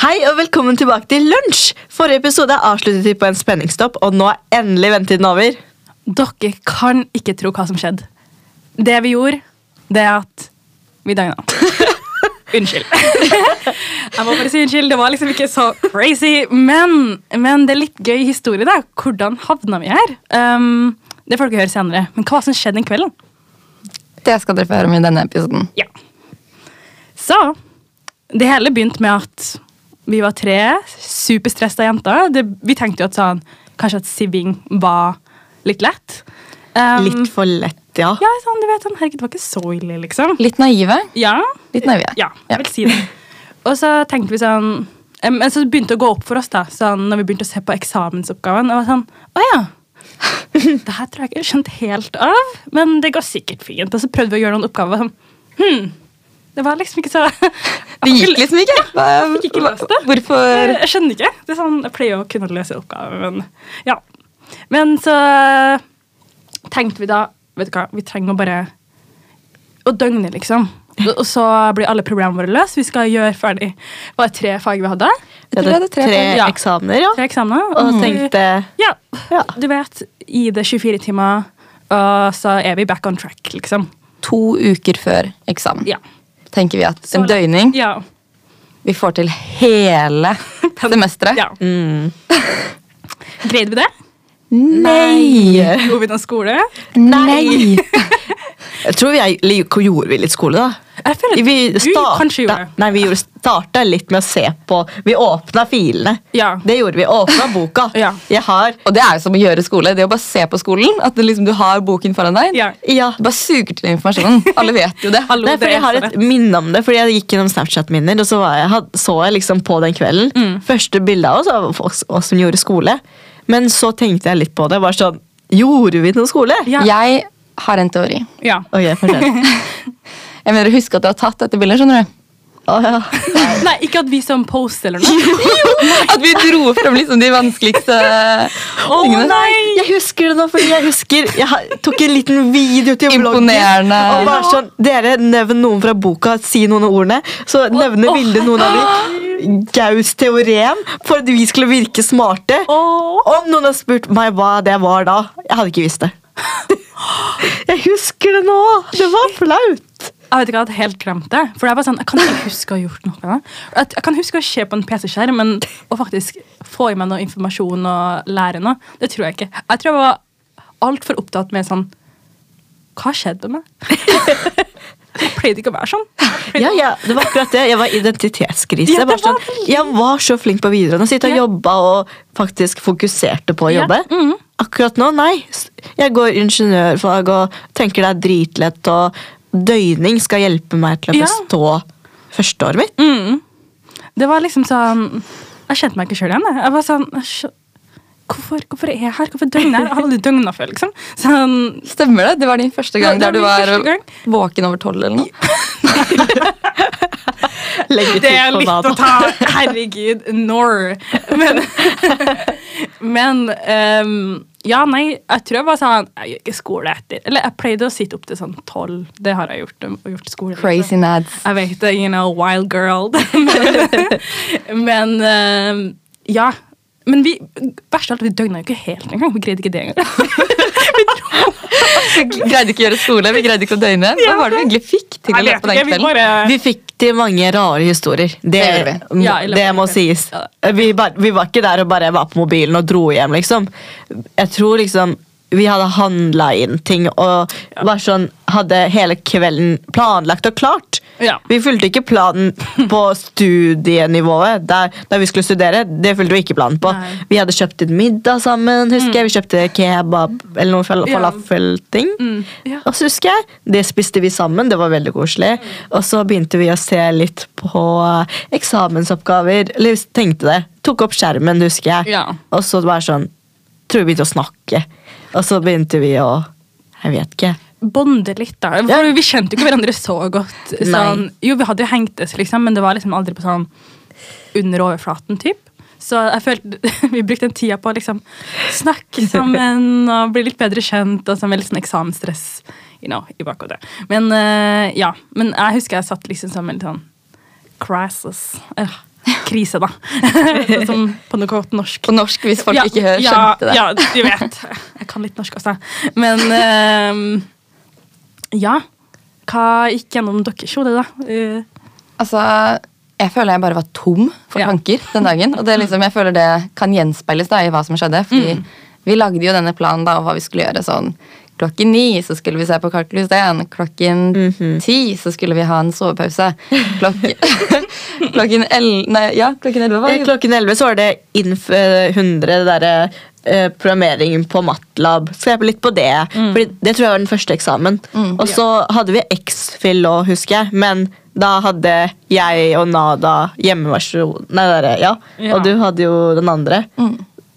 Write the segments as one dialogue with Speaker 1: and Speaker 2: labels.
Speaker 1: Hei og velkommen tilbake til lunsj! Forrige episode avsluttet vi på en spenningstopp, og nå er endelig ventetiden over.
Speaker 2: Dere kan ikke tro hva som skjedde. Det vi gjorde, det er at vi dagna. unnskyld. jeg må bare si unnskyld. Det var liksom ikke så crazy. Men, men det er litt gøy historie, da. Hvordan havna vi her? Um, det får dere høre senere. Men hva som skjedde den kvelden?
Speaker 3: Det skal dere få høre om i denne episoden.
Speaker 2: Ja. Så det hele begynte med at vi var tre superstressa jenter. Det, vi tenkte jo at sånn, kanskje at siving var litt lett. Um,
Speaker 1: Litt for lett, ja.
Speaker 2: Ja, sånn, du vet sånn, herregud, det var ikke så ille, liksom.
Speaker 3: Litt naive.
Speaker 2: Ja,
Speaker 3: Litt naive.
Speaker 2: ja, jeg vil si det. Og så tenkte vi sånn, eh, men så begynte det å gå opp for oss da, sånn, når vi begynte å se på eksamensoppgaven, og var sånn, åja, det her tror jeg ikke jeg skjønte helt av, men det går sikkert fint. Og så prøvde vi å gjøre noen oppgaver, og sånn, hm, det var liksom ikke så...
Speaker 3: Det gikk liksom ikke.
Speaker 2: jeg fikk ikke
Speaker 3: Hva-
Speaker 2: løst det.
Speaker 3: Hvorfor?
Speaker 2: Jeg skjønner ikke. Det er sånn, jeg pleier å kunne løse oppgaver, men ja. Men så tenkte vi da Vet du hva, vi trenger å bare Å døgne, liksom. Og og så blir alle problemene våre løst. Vi skal gjøre ferdig Var det tre fag vi hadde?
Speaker 3: Jeg tror jeg hadde tre
Speaker 1: tre
Speaker 3: poeng.
Speaker 2: Ja.
Speaker 1: eksamener, ja.
Speaker 2: Tre eksamener.
Speaker 1: Og
Speaker 2: vi-
Speaker 1: tenkte
Speaker 2: ja,
Speaker 1: Ja.
Speaker 2: du vet. I det 24 timer, og så er vi back on track, liksom.
Speaker 3: To uker før eksamen
Speaker 2: Ja.
Speaker 3: tenker vi at
Speaker 2: Så-
Speaker 3: en døgning
Speaker 2: ja.
Speaker 3: Vi får til hele semesteret.
Speaker 2: ja.
Speaker 3: Mm.
Speaker 2: Greide vi det?
Speaker 3: Nei!
Speaker 2: Gjorde vi noen skole?
Speaker 3: Nei!
Speaker 1: Jeg tror vi er, eller hvor gjorde vi litt skole, da.
Speaker 2: Jeg føler at
Speaker 1: Vi
Speaker 2: du kanskje gjorde det.
Speaker 1: Nei, vi gjorde- starta litt med å se på Vi åpna filene.
Speaker 2: Ja.
Speaker 1: Det gjorde vi. Åpna boka.
Speaker 2: Ja.
Speaker 1: Jeg har
Speaker 3: Og det er jo som å gjøre skole. Det å bare se på skolen. At det liksom, du har boken foran deg.
Speaker 2: Ja.
Speaker 1: Ja.
Speaker 3: Du bare suger til informasjonen. Alle vet jo det.
Speaker 2: Hallo,
Speaker 1: Nei, for
Speaker 2: det er
Speaker 1: jeg har
Speaker 2: så
Speaker 1: et minne om det, fordi jeg gikk gjennom Snapchat-minner, og så var jeg, had- så jeg liksom på den kvelden.
Speaker 2: Mm.
Speaker 1: Første bilde av oss var av oss, oss som gjorde skole. Men så tenkte jeg litt på det. bare sånn, Gjorde vi noe skole?
Speaker 2: Ja.
Speaker 3: Jeg har en teori.
Speaker 2: Ja.
Speaker 1: Ok, fortell.
Speaker 3: Jeg mener, Husk at du har tatt dette bildet. skjønner du?
Speaker 1: Å, ja.
Speaker 2: Nei, ikke at vi som post eller noe.
Speaker 3: At vi dro frem liksom de vanskeligste
Speaker 2: Å
Speaker 3: tingene.
Speaker 2: nei!
Speaker 1: Jeg husker det nå, fordi jeg husker Jeg har- tok en liten video til bloggen.
Speaker 3: Imponerende.
Speaker 1: Og bare sånn, Dere, nevn noen fra boka, si noen av ordene. Så nevner Vilde noen av de. Gaus teorem, for at vi skulle virke smarte.
Speaker 2: Åh.
Speaker 1: Om noen har spurt meg hva det var da, jeg hadde ikke visst det. Jeg husker det nå! Det var flaut.
Speaker 2: Jeg vet ikke, jeg hadde helt glemt det. For jeg, var sånn, jeg kan ikke huske å ha gjort noe. Jeg, jeg kan huske å se på en PC-skjerm, men å faktisk få i meg noe informasjon og lære noe, det tror jeg ikke. Jeg tror jeg var altfor opptatt med sånn Hva skjedde med meg? Jeg pleide ikke å være sånn.
Speaker 1: Ja, ja, det var akkurat det. Jeg var identitetskrise.
Speaker 2: Ja, det
Speaker 1: Bare
Speaker 2: var
Speaker 1: sånn, jeg var så flink på videregående. Sitte og
Speaker 2: Ja.
Speaker 1: jobba og faktisk fokuserte på å
Speaker 2: Ja,
Speaker 1: jobbe.
Speaker 2: mhm.
Speaker 1: Akkurat nå, nei. Jeg går ingeniørfag og tenker det er dritlett, og døgning skal hjelpe meg til å
Speaker 2: Ja.
Speaker 1: bestå førsteåret mitt.
Speaker 2: Mm. Det var liksom sånn Jeg kjente meg ikke sjøl igjen. jeg. Jeg var sånn jeg skjø- Hvorfor, hvorfor er jeg her? Hvorfor døgner jeg her? Jeg har aldri døgna før, liksom. Sånn,
Speaker 3: Stemmer det? Det var din første gang
Speaker 2: Ja, det
Speaker 3: der du
Speaker 2: var min
Speaker 3: var
Speaker 2: første gang.
Speaker 3: våken over tolv eller noe?
Speaker 1: Legge
Speaker 2: Det er
Speaker 1: til på
Speaker 2: litt
Speaker 1: nada.
Speaker 2: å ta. Herregud, når? Men, men ehm, Ja, nei, jeg tror jeg bare sa jeg gjør ikke skole etter. Eller jeg pleide å sitte opp til sånn tolv. Det har jeg gjort. og gjort skole. liksom.
Speaker 3: Crazy nads.
Speaker 2: Jeg vet det, you know, wild girl. men ehm, ja. Men vi, verst av alt, vi døgna jo ikke helt engang. Vi greide ikke det engang.
Speaker 3: Vi greide ikke å gjøre skole, vi greide ikke å døgne. Hva var det vi egentlig fikk til i
Speaker 2: Jeg vet
Speaker 3: løpet av
Speaker 2: ikke,
Speaker 3: den
Speaker 2: vi
Speaker 3: kvelden?
Speaker 2: bare...
Speaker 1: Vi fikk til mange rare historier. Det,
Speaker 3: gjorde
Speaker 1: må-
Speaker 2: Ja, i løpet
Speaker 1: det
Speaker 2: av
Speaker 1: må
Speaker 2: kvelden.
Speaker 1: sies. Eh,
Speaker 2: Ja.
Speaker 1: Vi, bare, vi var ikke der og bare var på mobilen og dro hjem, liksom. Jeg tror liksom vi hadde handla inn ting og var sånn, hadde hele kvelden planlagt og klart.
Speaker 2: Ja.
Speaker 1: Vi fulgte ikke planen på studienivået. Der, der vi skulle studere, det fulgte vi ikke planen på.
Speaker 2: Nei. Mm.
Speaker 1: Vi hadde kjøpt inn middag sammen, husker jeg. Vi kjøpte kebab eller noe fal
Speaker 2: Ja. Mm.
Speaker 1: falafelting.
Speaker 2: ja.
Speaker 1: Og så husker jeg, det spiste vi sammen, det var veldig koselig. Og så begynte vi å se litt på eh, eksamensoppgaver, eller tenkte det. Tok opp skjermen, husker jeg.
Speaker 2: Ja.
Speaker 1: Og så bare sånn, tror vi begynte å snakke. Og så begynte vi å, jeg vet ikke.
Speaker 2: bonde litt, da. For Vi kjente jo ikke hverandre så godt. Sånn, jo, vi hadde jo hengtes, liksom, men det var liksom aldri på sånn under overflaten, typ. Så jeg følte vi brukte den tida på å liksom snakke sammen og bli litt bedre kjent. og sånn med litt sånn eksamensstress you know, i bakhodet. Men eh, ja, men jeg husker jeg satt liksom som en sånn crisis. Eh, krise, da. Sånn som på noe godt norsk.
Speaker 3: På norsk, hvis folk
Speaker 2: Ja,
Speaker 3: ikke hører,
Speaker 2: ja,
Speaker 3: skjønte det.
Speaker 2: Ja, du vet. Jeg kan litt norsk også. Men ehm, ja. Hva gikk gjennom deres hode, da? Eh,
Speaker 3: Altså, jeg føler jeg bare var tom for
Speaker 2: Ja. Mm.
Speaker 3: tanker den dagen. Og det, er liksom, jeg føler det kan gjenspeiles da, i hva som skjedde. Fordi vi lagde jo denne planen da, om hva vi skulle gjøre sånn. Klokken ni så skulle vi se på Kartel Steen. Klokken
Speaker 2: Mhm.
Speaker 3: ti så skulle vi ha en sovepause. Klokken, klokken el... Nei, ja, klokken elleve var
Speaker 1: Eh,
Speaker 3: det.
Speaker 1: Klokken 11 så var det Inf eh, 100, det derre eh, programmering på Matlab. Skrev litt på det.
Speaker 2: Mm.
Speaker 1: Fordi det tror jeg var den første eksamen. Og så hadde vi X-fill òg, husker jeg. Men da hadde jeg og Nada hjemmeversjon Nei, det derre, ja.
Speaker 2: Ja. Mm.
Speaker 1: Og du hadde jo den andre.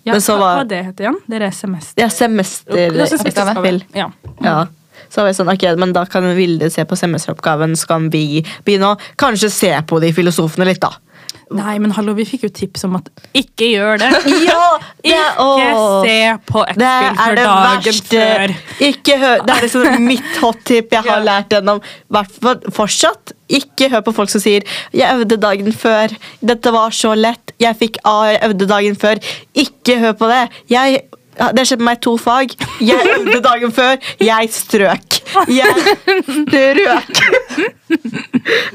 Speaker 2: ja,
Speaker 1: Men så
Speaker 2: hva,
Speaker 1: var-
Speaker 2: hva det heter igjen? Det er semester...
Speaker 1: Ja, semester
Speaker 2: Det er også semesteroppgave.
Speaker 1: X-fill.
Speaker 2: Ja.
Speaker 1: Ja. Så var jeg sånn, ok, men da kan Vilde se på semesteroppgaven, så kan vi begynne å kanskje se på de filosofene litt, da.
Speaker 2: Nei, men hallo, vi fikk jo tips om at ikke gjør det.
Speaker 1: Ja, det,
Speaker 2: Ikke
Speaker 1: åh.
Speaker 2: se på x
Speaker 1: Det
Speaker 2: spill
Speaker 1: er
Speaker 2: før
Speaker 1: det
Speaker 2: dagen
Speaker 1: verste
Speaker 2: før.
Speaker 1: Ikke hør, Det er liksom mitt hot tip jeg har lært gjennom hvert fall fortsatt. Ikke hør på folk som sier 'jeg øvde dagen før', 'dette var så lett', 'jeg fikk A, jeg øvde dagen før'. Ikke hør på det. Jeg, det skjedde med meg i to fag. Jeg øvde dagen før, jeg strøk. Jeg strøk.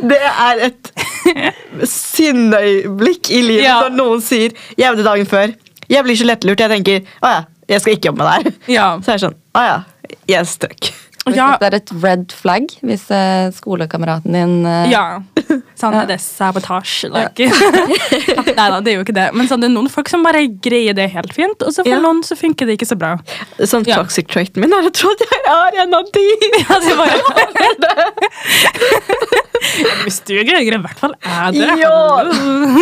Speaker 1: Det er et sinneøyeblikk i livet
Speaker 2: Ja.
Speaker 1: når noen sier 'jeg øvde dagen før'. Jeg blir så lettlurt. Jeg tenker 'å ja, jeg skal ikke jobbe med det her'.
Speaker 2: Ja.
Speaker 1: Så er jeg sånn 'å ja, jeg strøk'.
Speaker 2: Ja,
Speaker 3: Det er et red flag hvis eh, skolekameraten din eh,
Speaker 2: ja. Sånn, det er sabotasje. Like. Nei da, det er jo ikke det. Men sånn, det er noen folk som bare greier det helt fint, og så for
Speaker 1: Ja.
Speaker 2: noen så funker det ikke så bra.
Speaker 1: Sånn
Speaker 2: Ja.
Speaker 1: toxic traiten min er å tro at jeg er en av de.
Speaker 2: Ja, det var Hvis du greier det, i hvert fall er det.
Speaker 1: Ja.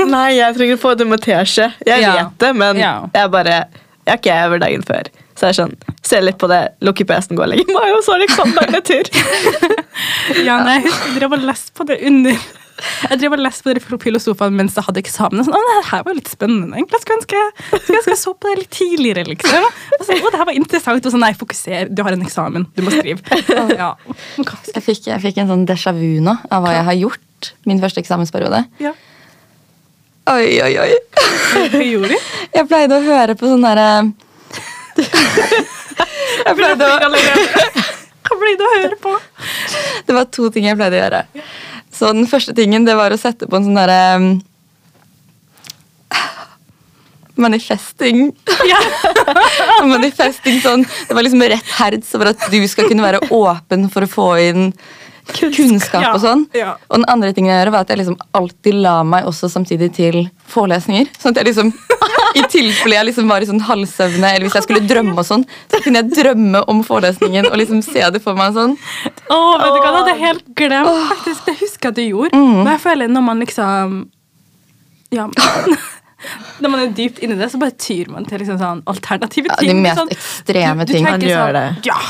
Speaker 1: Nei, jeg trenger å få det med teskje. Jeg
Speaker 2: Ja.
Speaker 1: vet det, men
Speaker 2: Ja.
Speaker 1: jeg bare Jeg er ikke over dagen før. Så jeg er sånn, ser litt på det, lukker PC-en, går og legger meg, og så er det eksamen dagen etter.
Speaker 2: Ja, nei, jeg husker jeg drev og leste på det under Jeg drev og leste på det for filosofene mens jeg hadde eksamen. og Sånn, å, det her var jo litt spennende, egentlig. Jeg Skulle ønske jeg skulle ønske jeg så på det litt tidligere, liksom. Og så, å, det her var interessant. Og sånn, nei, fokuser. Du har en eksamen. Du må skrive. Ja. Men hva skal
Speaker 3: jeg, fikk, jeg fikk en sånn déjà vu nå av hva jeg har gjort min første eksamensperiode.
Speaker 2: jeg- Ja.
Speaker 3: Oi, oi, oi.
Speaker 2: Hva gjorde du?
Speaker 3: Jeg pleide å høre på sånn derre Jeg pleide å
Speaker 2: Hva blir det å høre på?
Speaker 3: Det var to ting jeg pleide å gjøre. Så den første tingen, det var å sette på en sånn derre um, Manifesting.
Speaker 2: Ja.
Speaker 3: manifesting sånn, Det var liksom rett herds over at du skal kunne være åpen for å få inn kunnskap og sånn.
Speaker 2: Ja, ja.
Speaker 3: Og den andre tingen jeg gjør, var at jeg liksom alltid la meg også samtidig til forelesninger. Sånn at jeg liksom, I tilfelle jeg liksom var i sånn halvsøvne, eller hvis jeg skulle drømme, og sånn, så kunne jeg drømme om forelesningen og liksom se det for meg. sånn.
Speaker 2: Å, vet du hva, det hadde jeg helt glemt. faktisk. Det husker jeg at du gjorde. Men jeg føler når man liksom Ja. Når man er dypt inni det, så bare tyr man til liksom sånn alternative
Speaker 3: Ja, de
Speaker 2: ting.
Speaker 3: mest
Speaker 2: sånn,
Speaker 3: ekstreme
Speaker 2: du, du
Speaker 3: ting.
Speaker 2: tenker
Speaker 1: Man gjør
Speaker 2: sånn,
Speaker 1: det.
Speaker 2: Ja,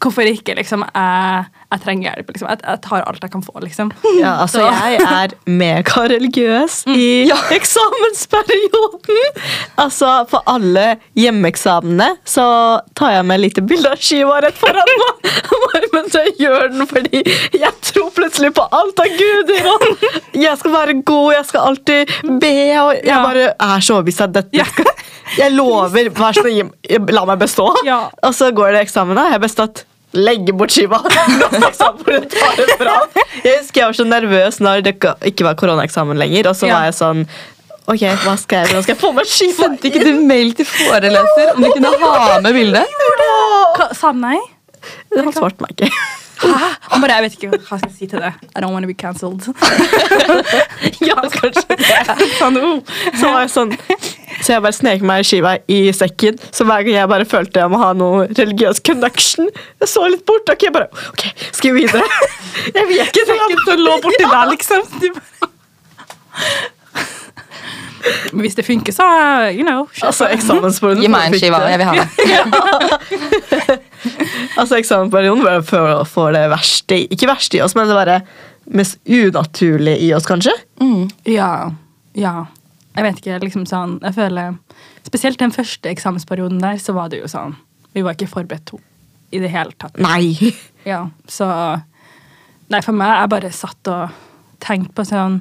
Speaker 2: hvorfor ikke? liksom, Jeg, jeg trenger hjelp. liksom, jeg, jeg tar alt jeg kan få. liksom.
Speaker 1: Ja, altså,
Speaker 2: Så- Mm,
Speaker 1: jeg er megareligiøs i eksamensperioden. Altså, på alle hjemmeeksamene så tar jeg med et lite bilde av skiva rett foran meg. Bare mens jeg gjør den, fordi jeg tror plutselig på alt av guder. Og jeg skal være god, jeg skal alltid be, og jeg
Speaker 2: Ja.
Speaker 1: bare er så overbevist av at dette.
Speaker 2: Ja.
Speaker 1: skal- Jeg lover, vær så snill, la meg bestå.
Speaker 2: Ja.
Speaker 1: Og så går det eksamen, da. Jeg har bestått. Legge bort skiva. Neste eksamen hvor du tar det fra. Jeg husker jeg var så nervøs når det ikke- ikke var koronaeksamen lenger. Og så
Speaker 2: Ja.
Speaker 1: var jeg sånn Ok, hva skal jeg, hvordan skal jeg få meg skiva?
Speaker 3: Sendte ikke du mail til foreleser om du kunne ha med bildet?
Speaker 2: Hva, Sa han nei?
Speaker 1: Han svarte meg ikke.
Speaker 2: Hæ? Han bare, jeg vet ikke hva jeg skal si til det. I don't want to be cancelled.
Speaker 1: Ja, kanskje
Speaker 2: Sånn, oh.
Speaker 1: Så var jeg sånn Så jeg bare snek meg skiva i sekken. Så hver gang jeg bare følte jeg må ha noe religiøs connection, jeg så litt bort. Ok, jeg bare Ok, skal vi videre? Jeg vet ikke.
Speaker 2: sekken som lå borti der, liksom. Du bare... Men hvis det funker, så uh, you know. shit.
Speaker 1: Altså, eksamensperioden
Speaker 3: Gi meg en skive, jeg vil ha det.
Speaker 1: Altså, eksamensperioden var for å få det verste i- Ikke verste i oss, men det var det mest unaturlige i oss, kanskje.
Speaker 2: Ja. Ja. Jeg vet ikke, liksom sånn Jeg føler Spesielt den første eksamensperioden der, så var det jo sånn Vi var ikke forberedt to i det hele tatt.
Speaker 1: Nei.
Speaker 2: Ja, så Nei, for meg, jeg bare satt og tenkte på sånn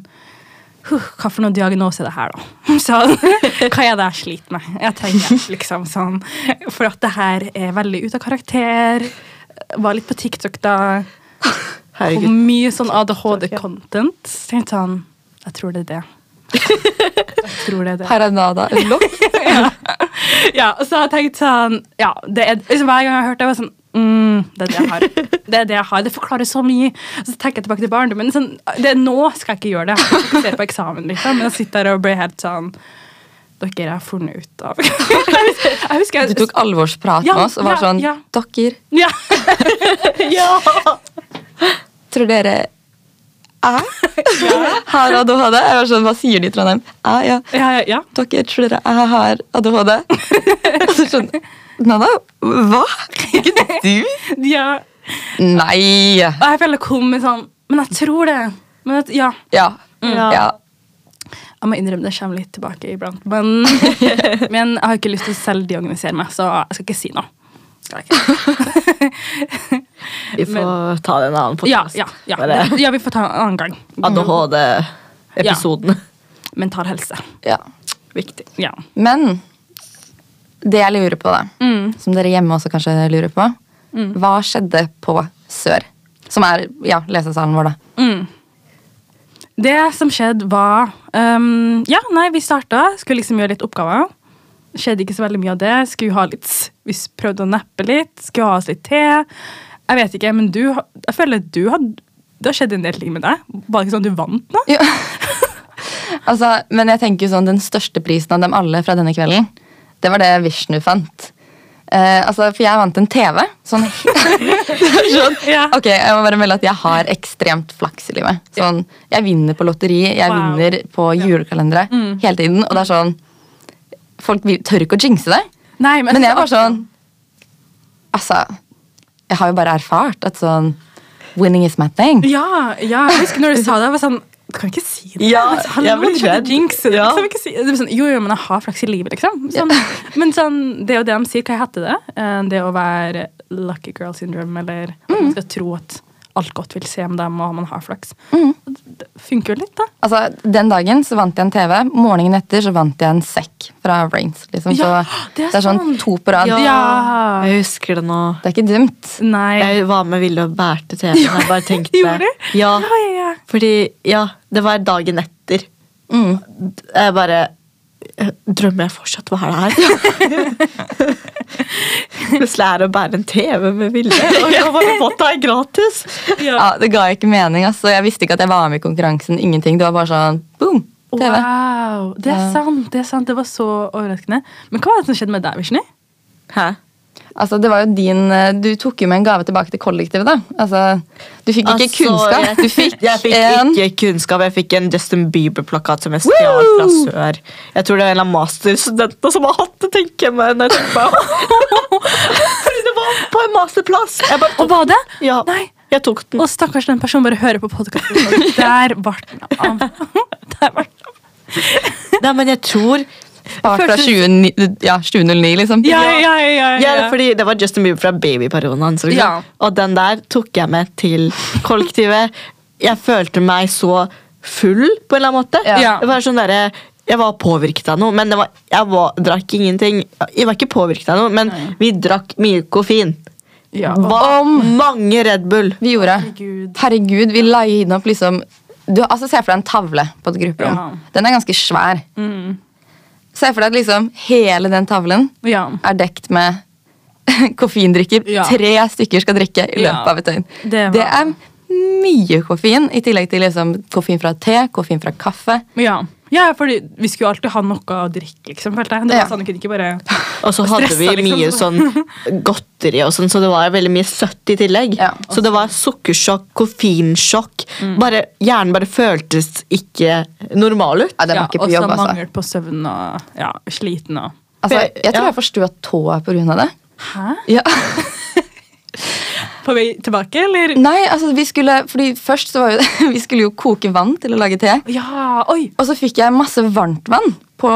Speaker 2: huh, hva for noen diagnose er det her, da? Sånn, hva er det jeg sliter med? Jeg trenger liksom sånn For at det her er veldig ute av karakter. Var litt på TikTok da. Og
Speaker 1: Herregud.
Speaker 2: mye sånn ADHD-content. Så tenkte jeg sånn Jeg tror det er det. Jeg tror det er det.
Speaker 3: Paranada unlocked.
Speaker 2: Ja, og så har jeg tenkt sånn ja, det er, liksom Hver gang jeg har hørt det, jeg var sånn mm, Det er det jeg har. Det er det jeg har. Det forklarer så mye. Og så tenker jeg tilbake til barndommen. Sånn, det, nå skal jeg ikke gjøre det. Jeg skal ikke se på eksamen, liksom. Men jeg sitter der og blir helt sånn Dere jeg har funnet ut av Jeg husker jeg
Speaker 3: Du tok alvorsprat
Speaker 2: Ja,
Speaker 3: med oss og var
Speaker 2: ja,
Speaker 3: sånn
Speaker 2: ja.
Speaker 3: Dere,
Speaker 2: ja.
Speaker 1: Ja!
Speaker 3: tror dere jeg har ADHD? Jeg var sånn, Hva sier de i Trondheim? Jeg, ja.
Speaker 2: Ja, ja, ja.
Speaker 3: Dere tror dere jeg har ADHD? Og så sånn Nada, hva? Ikke du?
Speaker 2: ja.
Speaker 3: Nei!
Speaker 2: Og jeg føler jeg kom med sånn Men jeg tror det. Men at, ja.
Speaker 3: Ja.
Speaker 1: Ja.
Speaker 3: ja.
Speaker 2: Jeg må innrømme det kommer litt tilbake iblant. Men, men jeg har ikke lyst til å selvdiagnosere meg, så jeg skal ikke si noe. Skal jeg ikke.
Speaker 1: Vi får ta det en annen
Speaker 2: Ja,
Speaker 1: podcast.
Speaker 2: ja, ja.
Speaker 1: Bare
Speaker 2: Det- ja, vi får ta en annen gang.
Speaker 1: ADHD-episoden.
Speaker 2: Mental helse.
Speaker 3: ja.
Speaker 1: Viktig.
Speaker 2: Ja.
Speaker 3: Men det jeg lurer på, da, som dere hjemme også kanskje lurer på Hva skjedde på Sør? Som er ja, lesesalen vår, da.
Speaker 2: Mm. Det som skjedde, var ehm, Ja, nei, vi starta, skulle liksom gjøre litt oppgaver. Skjedde ikke så veldig mye av det. Skulle ha litt, vi s- prøvde å nappe litt, skulle ha oss litt te. Jeg vet ikke, men du, ha- jeg føler at du hadde det har skjedd en del ting med deg. Var det ikke sånn at du vant nå?
Speaker 3: Ja. altså, men jeg tenker jo sånn, den største prisen av dem alle fra denne kvelden, det var det Vishnu fant. Eh, altså, For jeg vant en TV. Sånn, sånn.
Speaker 2: Ja.
Speaker 3: Ok, Jeg må bare melde at jeg har ekstremt flaks i livet. Sånn, Jeg vinner på lotteri, jeg
Speaker 2: Wow.
Speaker 3: vinner på julekalendere hele tiden. Og det er sånn Folk vil- tør ikke å jinxe det.
Speaker 2: Nei,
Speaker 3: Men jeg var sånn Altså, jeg har jo bare erfart at sånn Winning is my thing.
Speaker 2: Ja, ja, jeg husker når du sa det. Jeg var sånn Du kan ikke si det.
Speaker 1: Ja,
Speaker 2: Altså, hallo,
Speaker 1: jeg ble
Speaker 2: du kan ikke
Speaker 1: redd.
Speaker 2: jinxe det,
Speaker 1: Ja.
Speaker 2: liksom, ikke si, det var sånn, jo, jo, men jeg har flaks i livet, liksom. Sånn, Men sånn, det er jo det de sier. Hva heter det? Eh, Det å være lucky girl syndrome, eller at
Speaker 1: Mm.
Speaker 2: man skal tro at alt godt vil se om dem, og man har flaks.
Speaker 1: Mm.
Speaker 2: Det funker jo litt, da.
Speaker 3: Altså, Den dagen så vant jeg en TV. Morgenen etter så vant jeg en sekk fra Rains. Liksom. Så
Speaker 2: Ja, det er
Speaker 3: det er sånn
Speaker 2: sant.
Speaker 3: to på rad.
Speaker 2: Ja.
Speaker 1: Jeg husker det nå.
Speaker 3: Det er ikke dumt.
Speaker 2: Nei.
Speaker 1: Jeg var med Ville og bærte TV-en. Jeg bare tenkte
Speaker 2: Gjorde du?
Speaker 1: Ja,
Speaker 2: ja, ja, ja.
Speaker 1: fordi Ja, det var dagen etter.
Speaker 3: Mm.
Speaker 1: Jeg bare Drømmer jeg fortsatt hva er det her? Plutselig er det å bære en TV med Ville. Og jeg bare fått det her gratis!
Speaker 2: Ja.
Speaker 3: Ja, det ga ikke mening. altså. Jeg visste ikke at jeg var med i konkurransen. ingenting. Det var bare sånn boom! TV.
Speaker 2: Wow, det er
Speaker 3: Ja.
Speaker 2: sant. Det er sant, det var så overraskende. Men hva var det som skjedde med deg, Vishnu?
Speaker 1: Hæ?
Speaker 3: Altså, det var jo din, eh, Du tok jo med en gave tilbake til kollektivet, da. Altså, Du fikk ikke
Speaker 1: Altså,
Speaker 3: kunnskap.
Speaker 1: jeg-
Speaker 3: du fikk,
Speaker 1: jeg fikk
Speaker 3: en
Speaker 1: ikke kunnskap. Jeg fikk en Justin Bieber-plakat som jeg stjal fra sør. Jeg tror det er en av masterstudentene som har hatt det, tenker jeg meg. når jeg tenker meg om. Fordi det var på en masterplass. Jeg bare
Speaker 2: Og
Speaker 1: tok,
Speaker 2: var det?
Speaker 1: ja,
Speaker 2: Nei.
Speaker 1: jeg tok den.
Speaker 2: Og stakkars den personen bare hører på podkasten. Der ble den av. Der ble den av.
Speaker 1: Nei, men jeg tror
Speaker 3: part fra 2009, ja, 2009, liksom.
Speaker 2: Ja, ja, ja, ja, ja.
Speaker 1: ja, fordi Det var Justin Bieber fra babyperioden hans. ikke sant? Og den der tok jeg med til kollektivet. Jeg følte meg så full på en eller annen måte.
Speaker 3: Ja.
Speaker 1: Det var sånn derre jeg var påvirket av noe, men det var, jeg var, drakk ingenting. Jeg var ikke påvirket av noe, men vi drakk mye koffein.
Speaker 2: Ja.
Speaker 1: Hva- mange Red Bull.
Speaker 3: Vi gjorde.
Speaker 2: Herregud.
Speaker 3: Herregud, vi line opp liksom du, altså, Se for deg en tavle på et grupperom.
Speaker 2: Ja.
Speaker 3: Den er ganske svær.
Speaker 2: Mm.
Speaker 3: Se for deg at liksom hele den tavlen
Speaker 2: Ja.
Speaker 3: er dekt med koffeindrikker.
Speaker 2: Ja.
Speaker 3: Tre stykker skal drikke i løpet
Speaker 2: Ja.
Speaker 3: av et døgn.
Speaker 2: Det var-
Speaker 3: er mye koffein, i tillegg til liksom koffein fra te, koffein fra kaffe.
Speaker 2: ja. ja, fordi vi skulle jo alltid ha noe å drikke, liksom, følte jeg. Det
Speaker 3: Ja.
Speaker 2: var sånn, vi kunne ikke bare...
Speaker 1: Og så hadde vi
Speaker 2: stressa, liksom.
Speaker 1: mye sånn godteri, og sånn, så det var veldig mye søtt i tillegg.
Speaker 3: Ja.
Speaker 1: så det var sukkersjokk, koffeinsjokk. Bare, hjernen bare føltes ikke normal ut.
Speaker 3: Ja, den var ikke på
Speaker 2: og så
Speaker 3: jobb, altså.
Speaker 2: mangel på søvn og ja, sliten og...
Speaker 3: altså. Jeg tror
Speaker 1: Ja.
Speaker 3: jeg forstod tåa på grunn av det.
Speaker 2: Hæ?
Speaker 3: Ja.
Speaker 2: På vei tilbake, eller?
Speaker 3: Nei, altså vi skulle Fordi først så var jo Vi skulle jo koke vann til å lage te
Speaker 2: Ja, oi!
Speaker 3: Og så fikk jeg masse varmt vann på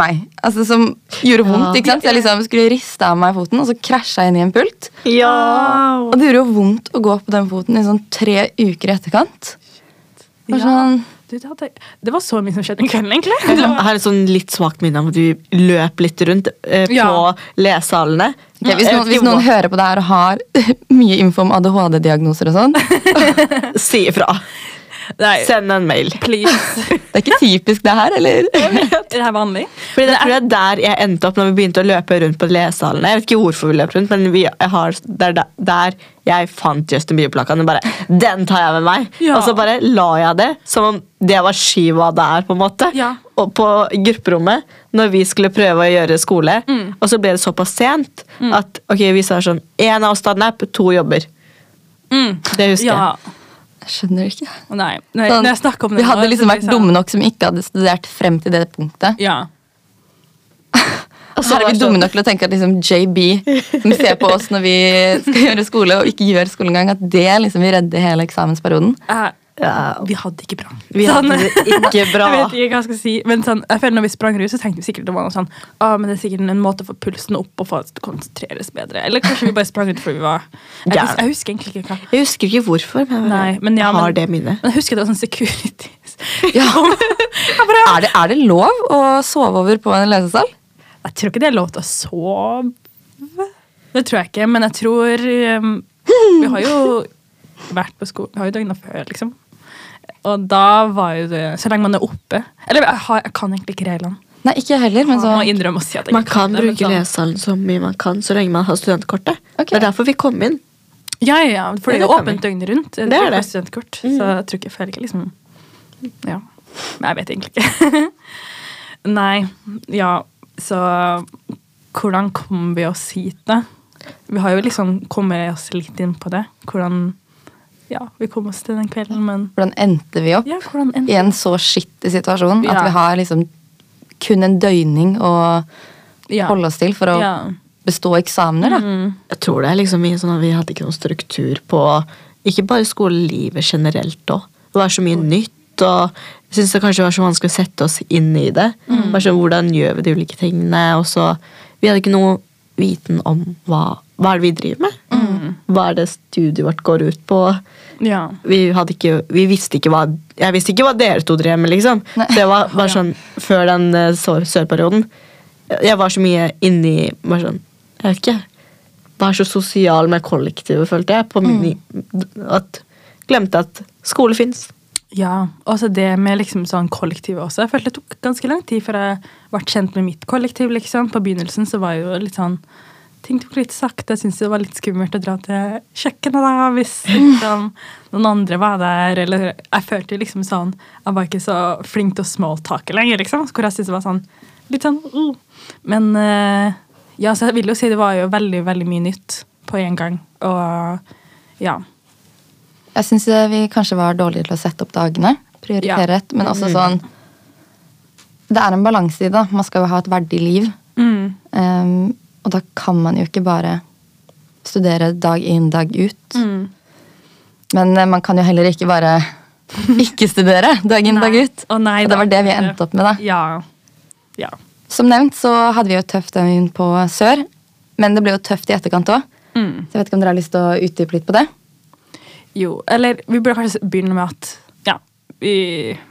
Speaker 3: meg Altså som gjorde vondt,
Speaker 1: Ja.
Speaker 3: ikke sant? Så jeg liksom skulle riste av meg foten Og så krasja jeg inn i en pult
Speaker 1: Ja.
Speaker 2: Wow.
Speaker 3: Og det gjorde jo vondt å gå på den foten I sånn tre uker i etterkant Det var
Speaker 2: Ja.
Speaker 3: sånn,
Speaker 2: Du du, det, hadde, det var så mye som skjedde den kvelden, egentlig. Det
Speaker 1: Jeg
Speaker 2: var,
Speaker 1: har et sånn litt svakt minne om at vi løp litt rundt eh, på
Speaker 2: Ja.
Speaker 1: lesesalene.
Speaker 3: Ok, hvis
Speaker 1: Jeg
Speaker 3: noen,
Speaker 1: vet
Speaker 3: hvis
Speaker 1: ikke
Speaker 3: noen
Speaker 1: hva-
Speaker 3: hører på det her og har mye info om ADHD-diagnoser og sånn Det
Speaker 1: Si ifra.
Speaker 2: nei,
Speaker 1: Send en mail.
Speaker 2: please.
Speaker 3: er ikke typisk det her, eller?
Speaker 2: er det her vanlig?
Speaker 1: Fordi det, jeg tror det er der jeg endte opp når vi begynte å løpe rundt på lesesalene. Jeg vet ikke hvorfor vi løp rundt, men vi, jeg har, det er der, der jeg fant Justin Bieber-plakaten. og Bare, den tar jeg med meg!
Speaker 2: Ja.
Speaker 1: Og så bare la jeg det som om det var skiva det er, på en måte.
Speaker 2: Ja.
Speaker 1: Og på grupperommet, når vi skulle prøve å gjøre skole,
Speaker 2: Mm.
Speaker 1: og så ble det såpass sent at ok, vi sa sånn Én av oss tar nap, to jobber.
Speaker 2: Mm.
Speaker 1: Det husker
Speaker 2: Ja.
Speaker 1: jeg.
Speaker 3: Jeg skjønner ikke.
Speaker 2: Og Nei. Når, jeg-
Speaker 3: Sånn,
Speaker 2: når jeg snakker om det
Speaker 3: vi hadde
Speaker 2: nå, så
Speaker 3: liksom
Speaker 2: blir
Speaker 3: vært
Speaker 2: jeg sånn-
Speaker 3: dumme nok som ikke hadde studert frem til det punktet.
Speaker 2: Ja.
Speaker 3: Og så er
Speaker 1: var
Speaker 3: vi
Speaker 1: sånn-
Speaker 3: dumme nok til å tenke at liksom JB, som ser på oss når vi skal gjøre skole, og ikke gjør skole engang, at det liksom vil redde hele eksamensperioden.
Speaker 2: Jeg-
Speaker 1: Ja.
Speaker 2: Vi hadde det ikke bra. Sånn,
Speaker 1: Vi hadde det ikke bra.
Speaker 2: Jeg vet ikke hva jeg skal si, men sånn, jeg føler når vi sprang rundt, så tenkte vi sikkert det var noe sånn, ah, men det er sikkert en måte å få pulsen opp og få oss til å konsentrere oss bedre. Eller kanskje vi bare sprang rundt fordi vi var Jeg,
Speaker 1: Gæren.
Speaker 2: hus- jeg husker egentlig ikke hva.
Speaker 1: Jeg husker ikke hvorfor, men jeg bare
Speaker 2: Nei, men ja, men-
Speaker 1: har det minnet.
Speaker 2: Men jeg husker det var sånn securities.
Speaker 3: Ja.
Speaker 2: jeg, bare,
Speaker 3: Er det, er det lov å sove over på en lesesal?
Speaker 2: jeg tror ikke det er lov til å sove. Det tror jeg ikke, men jeg tror um, Vi har jo vært på skolen Vi har jo døgna før, liksom. Og da var jo det Så lenge man er oppe Eller jeg, har, jeg kan egentlig ikke reglene.
Speaker 3: Nei, ikke jeg heller, men
Speaker 2: Man
Speaker 3: så
Speaker 2: må innrømme å si at jeg
Speaker 1: Man
Speaker 2: ikke
Speaker 1: kan
Speaker 2: det, men
Speaker 1: bruke
Speaker 2: sånn-
Speaker 1: lesesalen så mye man kan så lenge man har studentkortet.
Speaker 3: Ok.
Speaker 1: Det er derfor vi kom inn.
Speaker 2: Ja, ja, ja, for det
Speaker 1: Det
Speaker 2: er jo
Speaker 1: kan vi.
Speaker 2: åpent døgnet rundt. Jeg
Speaker 1: Det Mm.
Speaker 2: tror
Speaker 1: er
Speaker 2: jeg har
Speaker 1: det.
Speaker 2: studentkort, så jeg tror ikke jeg føler ikke liksom Ja. Men jeg vet egentlig ikke. Nei, ja, så hvordan kom vi oss hit, da? Vi har jo liksom kommet oss litt inn på det. Hvordan Ja, vi kom oss til den kvelden, men
Speaker 3: hvordan endte vi opp
Speaker 2: Ja, hvordan
Speaker 3: i
Speaker 2: endte
Speaker 3: en så skittig situasjon at
Speaker 2: Ja.
Speaker 3: vi har liksom kun en døgning å
Speaker 2: Ja.
Speaker 3: holde oss til for å
Speaker 2: Ja. Mm.
Speaker 3: bestå eksamener, da.
Speaker 1: Jeg tror det er liksom mye sånn at vi hadde ikke noen struktur på Ikke bare skolelivet generelt òg. Det var så mye nytt, og jeg syns det kanskje var så vanskelig å sette oss inn i det. Bare sånn, Hvordan gjør vi de ulike tingene? Og så Vi hadde ikke noe viten om hva, hva er det vi driver med. Hva er det studiet vårt går ut på?
Speaker 2: Ja.
Speaker 1: vi, hadde ikke, vi visste ikke hva Jeg visste ikke hva dere to drev med, liksom.
Speaker 3: Nei.
Speaker 1: Det var bare sånn før den eh, sår- sørperioden. Jeg var så mye inni bare sånn, Jeg vet ikke. Var så sosial med kollektivet, følte jeg. På min, at, glemte at skole fins.
Speaker 2: Ja, og så det med liksom sånn kollektivet også. Jeg følte det tok ganske lang tid før jeg ble kjent med mitt kollektiv. liksom. På begynnelsen så var jo litt sånn Ting tok litt sakte. Jeg syntes det var litt skummelt å dra til kjøkkenet da, hvis liksom, noen andre var der. Eller jeg følte jo liksom sånn Jeg var ikke så flink til å smalltake lenger, liksom. Hvor jeg syntes det var sånn litt sånn uh. Men eh, ja, så jeg vil jo si det var jo veldig, veldig mye nytt på én gang. Og ja.
Speaker 3: Jeg syns vi kanskje var dårlige til å sette opp
Speaker 2: Ja.
Speaker 3: dagene.
Speaker 2: Mm.
Speaker 3: Prioritere rett, men også sånn Det er en balanse i det. da. Man skal jo ha et verdig liv.
Speaker 2: Mm.
Speaker 3: Ehm, og da kan man jo ikke bare studere dag inn, dag ut.
Speaker 2: Mm.
Speaker 3: Men eh, man kan jo heller ikke bare ikke studere dag inn, dag
Speaker 2: Nei.
Speaker 3: ut.
Speaker 2: Å, nei
Speaker 3: og
Speaker 2: da.
Speaker 3: det var det vi endte opp med, da.
Speaker 2: Ja. Ja.
Speaker 3: Som nevnt så hadde vi jo et tøft døgn på sør, men det ble jo tøft i etterkant òg.
Speaker 2: Mm.
Speaker 3: Så jeg vet ikke om dere har lyst til å utdype litt på det?
Speaker 2: Jo, eller vi burde kanskje begynne med at ja, vi,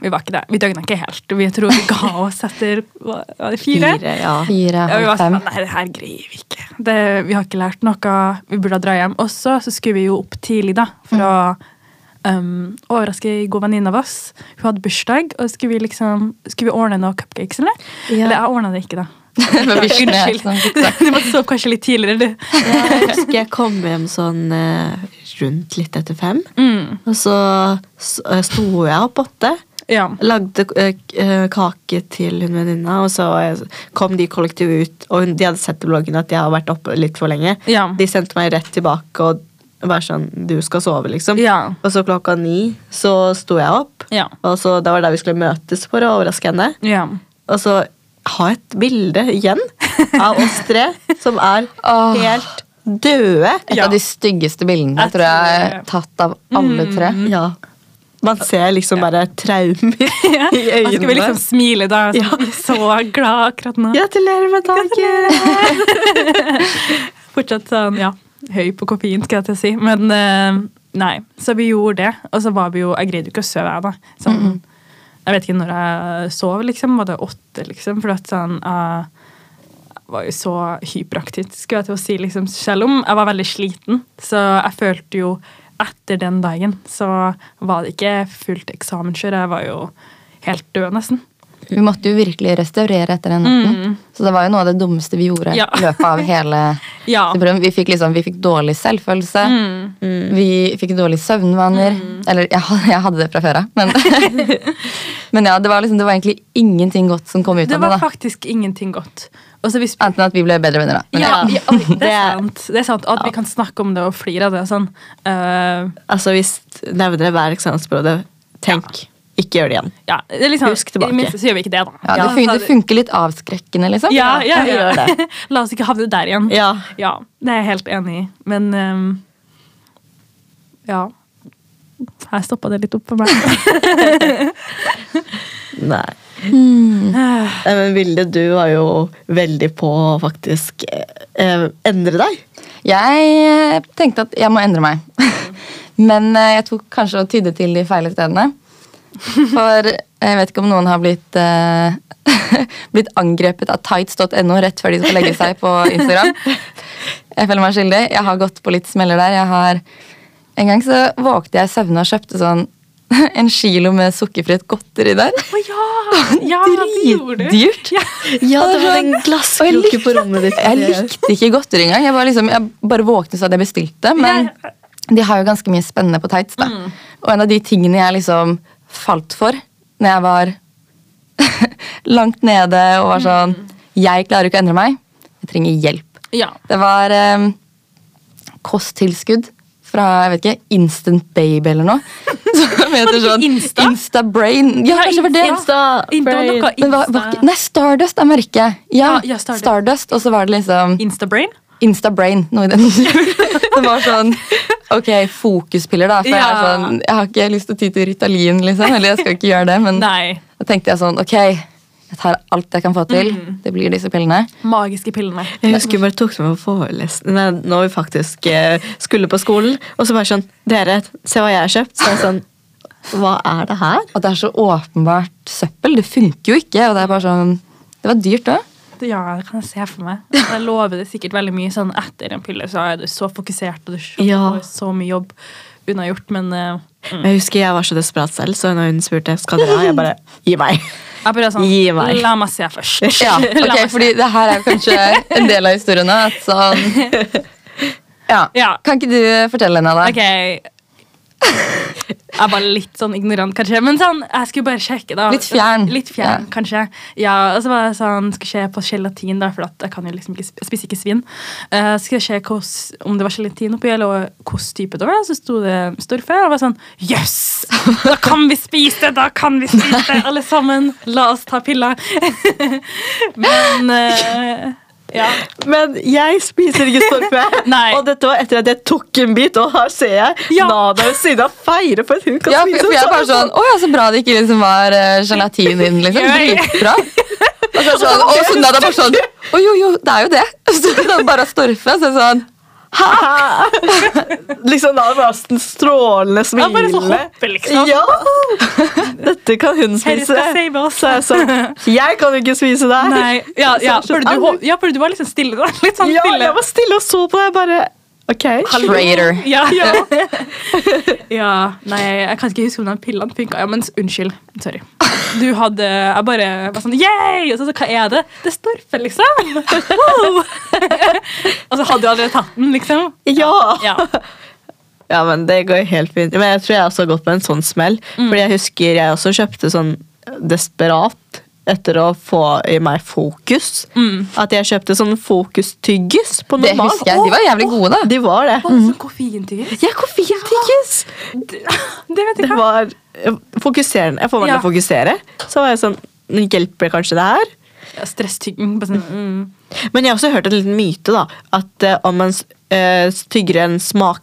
Speaker 2: vi var ikke det. Vi døgna ikke helt. Vi tror vi ga oss etter hva, var det fire.
Speaker 1: ja.
Speaker 3: Fire,
Speaker 2: Ja, vi var
Speaker 3: halv
Speaker 2: sånn,
Speaker 3: fem.
Speaker 2: Nei, det her greier vi ikke. Det, vi har ikke lært noe. Vi burde dra hjem. Og så så skulle vi jo opp tidlig da, for
Speaker 3: Mm.
Speaker 2: å um, overraske en god venninne av oss. Hun hadde bursdag, og skulle vi, liksom, skulle vi ordne noen cupcakes, eller?
Speaker 3: Ja.
Speaker 2: Eller jeg ordna det ikke, da.
Speaker 3: Men vi skjønner
Speaker 2: Unnskyld.
Speaker 3: sånn,
Speaker 2: Du, måtte sove kanskje litt tidligere, du.
Speaker 1: Jeg husker jeg kom hjem sånn eh, rundt litt etter fem.
Speaker 2: Mm,
Speaker 1: Og så s- eh, sto jeg opp åtte.
Speaker 2: ja.
Speaker 1: lagde eh, k- eh, kake til hun venninna, og så eh, kom de kollektivet ut. Og hun, de hadde sett i bloggen at jeg har vært oppe litt for lenge.
Speaker 2: Ja.
Speaker 1: De sendte meg rett tilbake og var sånn Du skal sove, liksom.
Speaker 2: Ja.
Speaker 1: Og så klokka ni så sto jeg opp,
Speaker 2: Ja.
Speaker 1: og så det var der vi skulle møtes for å overraske henne.
Speaker 2: ja.
Speaker 1: Og så ha et bilde igjen av oss tre som er
Speaker 3: Åh.
Speaker 1: helt døde.
Speaker 3: Et
Speaker 2: Ja.
Speaker 3: av de styggeste bildene
Speaker 2: Jeg
Speaker 3: jeg tror jeg er
Speaker 2: tror det. Mm.
Speaker 3: tatt av alle tre.
Speaker 1: Ja. Man ser liksom bare traumer
Speaker 2: Ja.
Speaker 1: i
Speaker 2: Da skal vi
Speaker 1: øynene.
Speaker 2: liksom smile, da. Så
Speaker 1: Ja.
Speaker 2: vi er så glad akkurat nå.
Speaker 1: Gratulerer med dagen!
Speaker 2: Fortsatt sånn, ja, høy på koffein, skal jeg til å si. Men eh, nei, så vi gjorde det. Og så var vi jo Jeg greide jo ikke å sove, jeg, da. Sånn, Jeg vet ikke når jeg sov, liksom. Var det åtte, liksom? For at sånn Jeg var jo så hyperaktiv, skulle jeg til å si, liksom. Selv om jeg var veldig sliten, så jeg følte jo etter den dagen så var det ikke fullt eksamenskjør. Jeg var jo helt død, nesten.
Speaker 3: Vi måtte jo virkelig restaurere etter den natten. Så det var jo noe av det dummeste vi gjorde
Speaker 2: Mm. Ja.
Speaker 3: i løpet av hele
Speaker 2: Ja. Mm.
Speaker 3: prøven. Vi fikk liksom, vi fikk dårlig selvfølelse. Vi fikk dårlige søvnvaner. Eller jeg, had- jeg hadde det fra før av, men, men ja, det var, liksom, det var egentlig ingenting godt som kom ut
Speaker 2: Det
Speaker 3: av det.
Speaker 2: var
Speaker 3: da.
Speaker 2: faktisk ingenting godt. Og så vi spurte
Speaker 3: Annet enn at vi ble bedre venner, da. Men ja.
Speaker 2: ja,
Speaker 1: ja.
Speaker 2: ja, oi, det
Speaker 1: Det
Speaker 2: er
Speaker 1: er-
Speaker 2: sant. Det er sant at vi kan snakke om det og flire av det. og Sånn. Eh,
Speaker 1: Altså, hvis nevner det hver eksamensperiode, tenk, ikke gjør det igjen.
Speaker 2: ja, det er liksom,
Speaker 1: Husk tilbake.
Speaker 2: I det minste så gjør vi ikke det, da.
Speaker 3: det, fun det funker litt avskrekkende, liksom.
Speaker 2: Ja, ja,
Speaker 1: vi
Speaker 2: ja.
Speaker 1: gjør
Speaker 2: La oss ikke havne der igjen.
Speaker 1: Ja.
Speaker 2: Ja, det er jeg helt enig i. Men ehm, ja. Her stoppa det litt opp for meg.
Speaker 1: Nei. Nei, Men Vilde, du var jo veldig på å faktisk eh, endre deg.
Speaker 3: Jeg eh, tenkte at jeg må endre meg. Men eh, jeg tok kanskje og tydde til de feile stedene. For eh, jeg vet ikke om noen har blitt, eh, blitt angrepet av tights.no rett før de skal legge seg på Instagram. Jeg føler meg skyldig. Jeg har gått på litt smeller der. Jeg har, en gang så vågte jeg søvne og kjøpte sånn en kilo med sukkerfritt godteri der.
Speaker 2: Å ja! ja det gjorde du.
Speaker 3: Dritdyrt.
Speaker 2: Ja.
Speaker 1: Ja,
Speaker 3: det var en
Speaker 1: glasskroke på rommet ditt.
Speaker 3: Jeg likte ikke godteri engang. Jeg, var liksom, jeg bare våknet og sa at jeg bestilte. Men de har jo ganske mye spennende på tights. Da.
Speaker 2: Mm.
Speaker 3: Og en av de tingene jeg liksom falt for når jeg var langt nede og
Speaker 2: Mm.
Speaker 3: var sånn Jeg klarer ikke å endre meg. Jeg trenger hjelp.
Speaker 2: ja.
Speaker 3: Det var eh, kosttilskudd fra jeg vet ikke, Instant Baby eller noe. Som heter
Speaker 2: ikke
Speaker 3: sånn
Speaker 2: Insta?
Speaker 3: Brain. Ja, kanskje det var det.
Speaker 1: Insta-
Speaker 2: Insta- det var noe
Speaker 3: Men hva, hva,
Speaker 2: Insta-
Speaker 3: nei, Stardust er merket. Ja,
Speaker 2: Ja, ja, Stardust.
Speaker 3: Stardust. Og så var det liksom
Speaker 2: Instabrain?
Speaker 3: Instabrain, noe i den Det var sånn Ok, fokuspiller, da. For jeg, er
Speaker 2: Ja.
Speaker 3: sånn, jeg har ikke lyst til å ty til Ritalin, liksom. Eller jeg skal ikke gjøre det, men
Speaker 2: Nei.
Speaker 3: da tenkte jeg sånn Ok, jeg tar alt jeg kan få til.
Speaker 2: Mm.
Speaker 3: Det blir disse pillene.
Speaker 2: Magiske pillene.
Speaker 1: Jeg husker vi bare tok med på forelesning nei, når vi faktisk eh, skulle på skolen. Og så bare sånn Dere, se hva jeg har kjøpt. Så jeg sånn Hva er det her?
Speaker 3: At det er så åpenbart søppel. Det funker jo ikke. Og det er bare sånn Det var dyrt òg.
Speaker 2: Ja, det kan jeg se for meg. Jeg lover det sikkert veldig mye. Sånn etter en pille så er du så fokusert, og du skjønner
Speaker 1: Ja.
Speaker 2: så mye jobb unnagjort, men eh,
Speaker 1: Men Jeg husker jeg var så desperat selv, så når hun spurte skal dere ha, jeg bare Gi meg.
Speaker 2: jeg bare sånn
Speaker 1: Gi meg.
Speaker 2: La meg se først.
Speaker 3: Ja,
Speaker 2: La
Speaker 3: ok,
Speaker 2: meg se.
Speaker 3: fordi det her er jo kanskje en del av historien òg. At sånn ja.
Speaker 2: Ja.
Speaker 3: Kan ikke du fortelle henne, da?
Speaker 2: Ok. Jeg var litt sånn ignorant, kanskje. Men sånn, jeg skulle bare sjekke. da
Speaker 3: Litt fjern.
Speaker 2: Litt fjern,
Speaker 3: Ja.
Speaker 2: kanskje Ja, Og så var jeg sånn, skulle se på gelatin, da, for at jeg kan jo liksom ikke, sp- jeg spiser ikke svin. Uh, skulle jeg se hos, om det var gelatin oppi, eller hvilken type det var. Så sto det storfe. Og jeg var sånn Jøss! Yes! Da kan vi spise! Da kan vi spise, alle sammen! La oss ta piller. Men eh, ja.
Speaker 1: Men jeg spiser ikke storfe.
Speaker 2: Nei.
Speaker 1: og dette var etter at jeg tok en bit, og her ser jeg
Speaker 2: Ja.
Speaker 1: Nada ved siden av feire for at hun kan
Speaker 3: Ja, for,
Speaker 1: spise
Speaker 3: for jeg er bare
Speaker 1: sånn.
Speaker 3: sånn Å ja, så bra det ikke liksom var uh, gelatin i den, liksom.
Speaker 2: Ja, ja.
Speaker 3: Dritbra. Og så er det sånn, og så er det bare sånn Å jo, jo, det er jo det. Og så er det bare å storfe. Så er det sånn
Speaker 1: Liksom Nada var den strålende
Speaker 2: Ja, bare så
Speaker 1: smilende.
Speaker 2: hoppe, liksom.
Speaker 1: Ja! Dette kan hun spise.
Speaker 2: Herre skal save oss.
Speaker 1: Så jeg sånn Jeg kan jo ikke spise det her.
Speaker 2: Nei, ja, ja,
Speaker 1: Så
Speaker 2: for
Speaker 1: jeg
Speaker 2: du,
Speaker 1: skjønte,
Speaker 2: hå- ja, for du var liksom stille da. Litt sånn
Speaker 1: Ja,
Speaker 2: stille.
Speaker 1: jeg var stille og så på det. Jeg bare OK.
Speaker 3: Traitor.
Speaker 2: Ja, ja. ja, nei, jeg kan ikke huske om den pillen funka. Ja, men s- unnskyld. Sorry. Du hadde Jeg bare var sånn Yay! Og så, så hva er det? Det storfer, liksom. Wow! og så hadde du allerede tatt den, liksom.
Speaker 1: Ja.
Speaker 2: Ja.
Speaker 1: ja, men det går helt fint. Men jeg tror jeg også har gått på en sånn smell.
Speaker 3: Mm.
Speaker 1: Fordi jeg husker jeg også kjøpte sånn desperat etter å få i meg fokus. At jeg kjøpte sånn fokustyggis på
Speaker 3: Mm. Det
Speaker 1: normal.
Speaker 3: husker jeg. De var jævlig gode, da.
Speaker 1: De var det.
Speaker 2: Og så koffeintyggis.
Speaker 1: Ja, koffeintyggis!
Speaker 2: Det det vet
Speaker 1: Det
Speaker 2: jeg hva.
Speaker 1: var eh, fokuserende. Jeg får meg til
Speaker 2: Ja.
Speaker 1: å fokusere. Så var jeg sånn Hjelper kanskje det her?
Speaker 2: Ja, Stresstyggen. bare Sånn, mm.
Speaker 1: Men jeg har også hørt en liten myte, da. At eh, om man uh, tygger en smak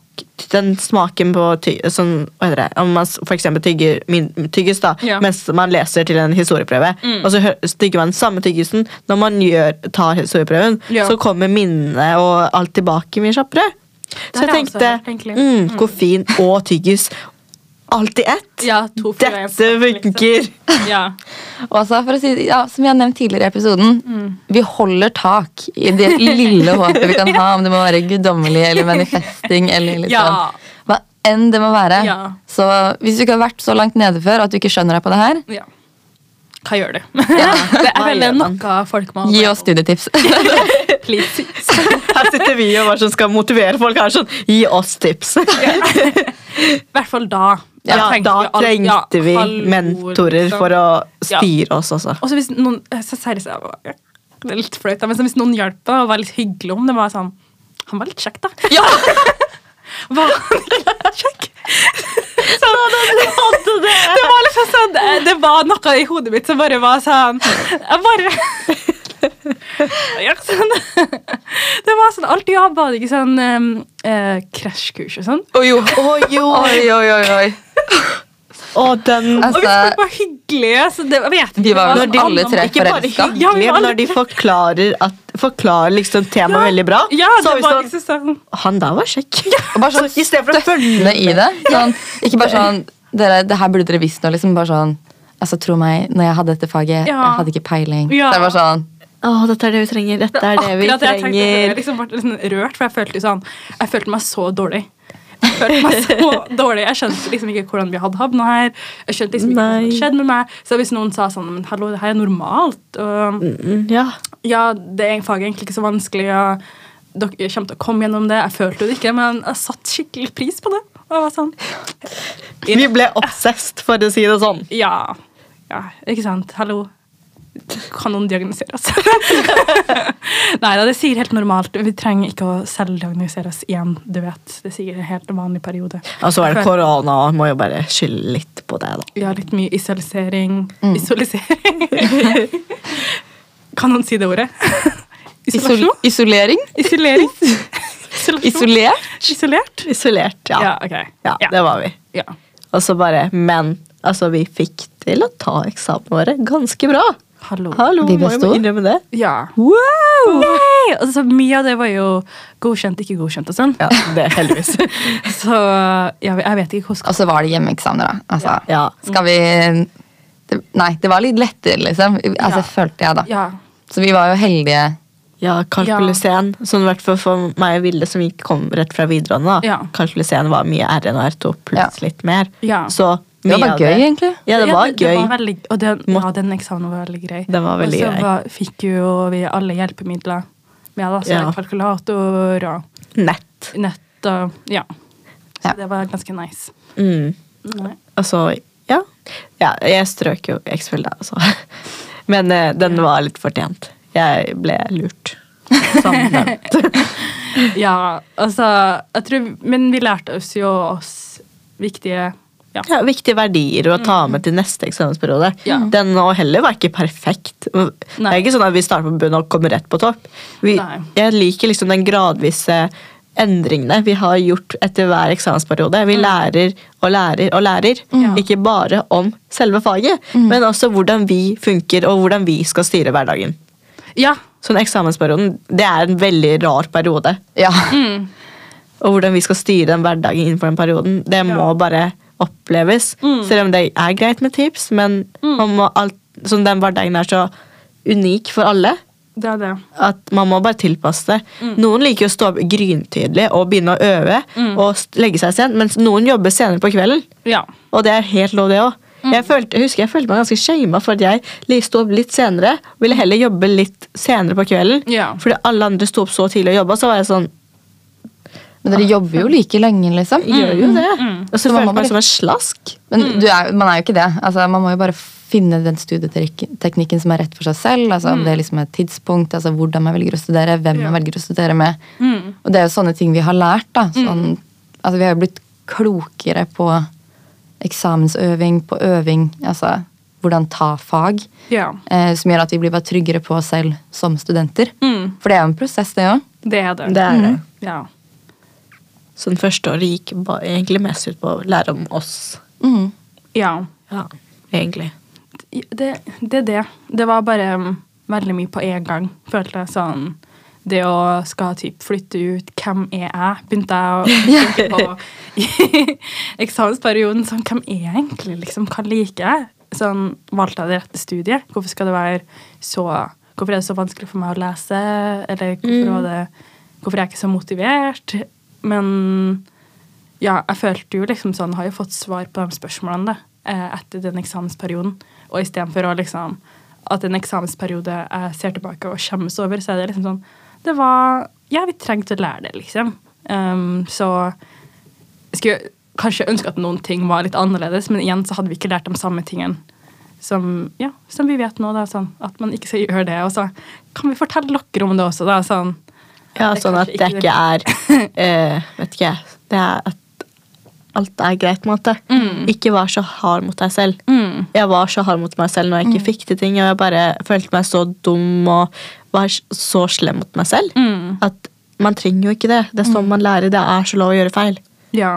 Speaker 1: den smaken på ty sånn, hva heter det? Om man s- for eksempel tygger min tyggis da,
Speaker 2: Ja. Mm.
Speaker 1: mens man leser til en historieprøve, og så hø- tygger man samme tyggisen når man gjør, tar historieprøven,
Speaker 2: Ja.
Speaker 1: så kommer minnene og alt tilbake mye kjappere. Så
Speaker 2: Det
Speaker 1: jeg
Speaker 2: har jeg også Mm.
Speaker 1: tenkte
Speaker 2: hørt, egentlig.
Speaker 1: mm, koffein og tyggis Alltid ett.
Speaker 2: Ja, to for hver
Speaker 1: Dette funker!
Speaker 2: liksom. Ja.
Speaker 3: Og altså, for å si, ja, som vi har nevnt tidligere i episoden,
Speaker 2: Mm.
Speaker 3: vi holder tak i det lille håpet vi kan ha, om det må være guddommelig eller manifesting eller litt
Speaker 2: Ja.
Speaker 3: sånn. Hva enn det må være.
Speaker 2: Ja.
Speaker 3: Så hvis du ikke har vært så langt nede før at du ikke skjønner deg på det her,
Speaker 2: ja. Hva gjør du? det er
Speaker 1: hva
Speaker 2: vel
Speaker 1: gjør man?
Speaker 2: noe folk må
Speaker 3: gi oss studietips.
Speaker 2: Please.
Speaker 1: Her sitter vi og bare sånn skal motivere folk. Her sånn, Gi oss tips.
Speaker 2: I hvert fall da.
Speaker 1: Ja, da
Speaker 2: al- ja,
Speaker 1: trengte vi
Speaker 2: hallo,
Speaker 1: mentorer
Speaker 2: liksom.
Speaker 1: for å
Speaker 2: Ja.
Speaker 1: styre oss også.
Speaker 2: Og så hvis noen eh, så seriøst, jeg var- ja, Det er litt flaut, da, men så hvis noen hjalp deg og var litt hyggelig om det, var sånn Han var litt kjekk, da.
Speaker 3: ja!
Speaker 2: Var han litt kjekk?
Speaker 1: Hadde det!
Speaker 2: Det var liksom sånn eh, Det var noe i hodet mitt som bare var sånn Jeg bare Ja, sånn. Det var sånn Alltid jeg hadde ikke sånn eh, eh, krasjkurs og sånn.
Speaker 3: Å jo.
Speaker 1: jo.
Speaker 3: Oi, oi, oi, oi.
Speaker 1: Og den
Speaker 2: Og hvis folk
Speaker 3: Altså,
Speaker 2: var hyggelige, så det jeg vet ikke,
Speaker 3: Vi var
Speaker 2: det
Speaker 3: vel
Speaker 2: sånn
Speaker 3: alle
Speaker 2: annet-
Speaker 3: tre
Speaker 1: Ikke bare
Speaker 3: forelska.
Speaker 1: hyggelige,
Speaker 2: Ja, vi var
Speaker 1: men
Speaker 2: alle-
Speaker 1: når de forklarer, at, forklarer liksom temaet veldig bra,
Speaker 2: Ja,
Speaker 1: så
Speaker 2: det
Speaker 1: er vi
Speaker 2: var
Speaker 1: sånn
Speaker 2: liksom sånn
Speaker 1: Han der var kjekk.
Speaker 3: Og bare sånn
Speaker 1: så i stedet for å følge
Speaker 3: støttende i det. Sånn, ikke bare sånn dere, Det her burde dere visst nå. Liksom bare sånn Altså, tro meg, når jeg hadde dette faget, jeg
Speaker 2: Ja.
Speaker 3: hadde ikke peiling.
Speaker 2: Ja.
Speaker 3: Så jeg var sånn
Speaker 1: Å, dette er det vi trenger. Dette er det vi
Speaker 2: Akkurat jeg tenkte det. Jeg
Speaker 1: trenger.
Speaker 2: liksom ble liksom rørt, for jeg følte, jo sånn, jeg følte meg så dårlig. Jeg følte meg så dårlig. Jeg skjønte liksom ikke hvordan vi hadde havna her. Jeg skjønte liksom ikke hva
Speaker 1: Nei.
Speaker 2: som hadde skjedd med meg. Så hvis noen sa sånn Men hallo, det her er normalt. Og
Speaker 1: Mm, Ja.
Speaker 2: ja, det er faget er egentlig ikke så vanskelig. Og dere kommer til å komme gjennom det. Jeg følte jo det ikke, men jeg satte skikkelig pris på det. Og jeg var sånn
Speaker 1: Vi ble obsessed, for å si det sånn.
Speaker 2: Ja. ja ikke sant? Hallo. Kan noen diagnosere oss? Nei da, det sier helt normalt. Vi trenger ikke å selvdiagnosere oss igjen. du vet. Det sier en helt vanlig periode.
Speaker 1: Og så er det korona, og må jo bare skylde litt på det, da.
Speaker 2: Vi har litt mye isolisering.
Speaker 3: Mm.
Speaker 2: Isolisering Kan noen si det ordet?
Speaker 3: isol
Speaker 2: Isolasjon?
Speaker 3: Isolering?
Speaker 2: Isolering? Isolasjon?
Speaker 3: Isolert?
Speaker 2: Isolert?
Speaker 1: Isolert, ja.
Speaker 2: Ja,
Speaker 1: Ja,
Speaker 2: ok.
Speaker 1: det var vi.
Speaker 2: ja.
Speaker 1: Og så bare Men altså, vi fikk til å ta eksamen våre ganske bra.
Speaker 2: Hallo.
Speaker 1: Hallo,
Speaker 3: Vi
Speaker 1: må jo
Speaker 3: besto.
Speaker 1: innrømme det.
Speaker 2: Ja.
Speaker 1: Wow!
Speaker 2: Yay! Og så mye av det var jo godkjent, ikke godkjent og sånn.
Speaker 1: Ja, det er heldigvis.
Speaker 2: Så ja, jeg vet ikke hvordan
Speaker 3: Og så var det hjemmeeksamener, da. Altså,
Speaker 1: Ja.
Speaker 3: Skal vi det, Nei, det var litt lettere, liksom. Altså,
Speaker 2: Ja.
Speaker 3: følte jeg, da.
Speaker 2: Ja.
Speaker 3: Så vi var jo heldige.
Speaker 1: Ja, kalkulesen. Sånn i hvert fall for meg og Vilde, som ikke kom rett fra videregående. da.
Speaker 2: Ja.
Speaker 1: Kalkulesen var mye R1 og R2 pluss
Speaker 3: Ja.
Speaker 1: litt mer.
Speaker 2: Ja.
Speaker 1: Så
Speaker 3: Det
Speaker 1: mye
Speaker 3: var
Speaker 1: av
Speaker 3: gøy, egentlig.
Speaker 1: Ja, det var
Speaker 2: det,
Speaker 1: gøy.
Speaker 2: Det var veldig, og den, ja, den eksamen var veldig grei.
Speaker 1: Den var veldig
Speaker 2: og
Speaker 1: grei.
Speaker 2: så var- fikk jo vi alle hjelpemidler. Med, da, så
Speaker 1: Ja.
Speaker 2: Kalkulator og
Speaker 1: Nett.
Speaker 2: nett og Ja. Så
Speaker 3: Ja.
Speaker 2: det var ganske nice.
Speaker 1: Mm.
Speaker 2: Nei.
Speaker 1: Og så, ja. ja jeg strøk jo X-Fill da, altså. Men eh, den var litt fortjent. Jeg ble lurt. Som nevnt.
Speaker 2: Ja, altså jeg tror, Men vi lærte oss jo oss viktige ja.
Speaker 1: ja, viktige verdier å ta med til neste eksamensperiode.
Speaker 2: Mm. Ja.
Speaker 1: Den nå heller var ikke perfekt. Det
Speaker 2: Nei.
Speaker 1: er ikke sånn at vi starter på bunnen og kommer rett på topp. Vi,
Speaker 2: Nei.
Speaker 1: jeg liker liksom den gradvise endringene vi har gjort etter hver eksamensperiode. Vi lærer og lærer og lærer.
Speaker 2: Mm. Ja. Mm.
Speaker 1: Ikke bare om selve faget, men også hvordan vi funker og hvordan vi skal styre hverdagen.
Speaker 2: ja.
Speaker 1: Så den eksamensperioden det er en veldig rar periode.
Speaker 3: Ja.
Speaker 2: mm.
Speaker 1: Og hvordan vi skal styre den hverdagen innenfor den perioden, det må bare oppleves. Selv om det er greit med tips, men man må alt, sånn den hverdagen er så unik for alle
Speaker 2: Det er det.
Speaker 1: at man må bare tilpasse det. Noen liker å stå opp gryntidlig og begynne å øve og s- legge seg sent, mens noen jobber senere på kvelden.
Speaker 2: Ja.
Speaker 1: Og det er helt lov, det òg. Jeg, følte- jeg husker jeg følte meg ganske shama for at jeg li- sto opp litt senere. Ville heller jobbe litt senere på kvelden,
Speaker 2: Ja.
Speaker 1: fordi alle andre sto opp så tidlig og jobba. Så var jeg sånn
Speaker 3: Men dere jobber jo like lenge, liksom.
Speaker 1: gjør jo det. Mm. Og så
Speaker 3: Så
Speaker 1: føler
Speaker 3: man må
Speaker 1: jeg meg
Speaker 3: bare-
Speaker 1: som en slask.
Speaker 3: Men du er, man er jo ikke det. Altså, man må jo bare finne den studieteknikken som er rett for seg selv. Altså,
Speaker 1: Mm.
Speaker 3: Om det liksom er et tidspunkt, altså, hvordan man velger å studere, hvem man velger å studere med.
Speaker 1: Mm.
Speaker 3: Og det er jo sånne ting vi har lært. da. Sånn, altså, vi har jo blitt klokere på eksamensøving, på øving. altså hvordan ta fag.
Speaker 2: Ja.
Speaker 3: Eh, som gjør at vi blir bare tryggere på oss selv som studenter.
Speaker 2: Mm.
Speaker 3: For det er jo en prosess, det òg.
Speaker 2: Det er det. Mm.
Speaker 1: Det er det.
Speaker 2: Ja.
Speaker 1: Så den Sånn første året gikk ba- egentlig mest ut på å lære om oss.
Speaker 3: Mm.
Speaker 2: ja.
Speaker 1: Egentlig.
Speaker 2: det, det er det. Det var bare um, veldig mye på en gang, følte jeg. Sånn det å skal typ flytte ut Hvem er jeg? Begynte jeg å tenke på i eksamensperioden. Sånn, hvem er jeg egentlig? Liksom, hva liker jeg? Sånn, valgte jeg det rette studiet? Hvorfor skal det være så Hvorfor er det så vanskelig for meg å lese? Eller hvorfor, var det, hvorfor er jeg ikke så motivert? Men ja, jeg følte jo liksom sånn Har jo fått svar på de spørsmålene da, eh, etter den eksamensperioden. Og istedenfor å liksom At en eksamensperiode jeg ser tilbake og skjemmes over, så er det liksom sånn Det var Ja, vi trengte å lære det, liksom. Um, så jeg skulle kanskje ønske at noen ting var litt annerledes, men igjen så hadde vi ikke lært de samme tingene som, ja, som vi vet nå. Da, sånn, at man ikke skal gjøre det. Og så kan vi fortelle dere om det også, da. Sånn.
Speaker 1: Ja,
Speaker 2: Det er
Speaker 1: sånn at det
Speaker 2: kanskje ikke
Speaker 1: ikke er eh, Vet ikke jeg. Det er at alt er greit, på en måte. Ikke vær så hard mot deg selv.
Speaker 2: Mm.
Speaker 1: Jeg var så hard mot meg selv når jeg ikke fikk til ting, og jeg bare følte meg så dum og var s- så slem mot meg selv. At man trenger jo ikke det. Det er sånn man lærer. Det er så lov å gjøre feil.
Speaker 2: Ja.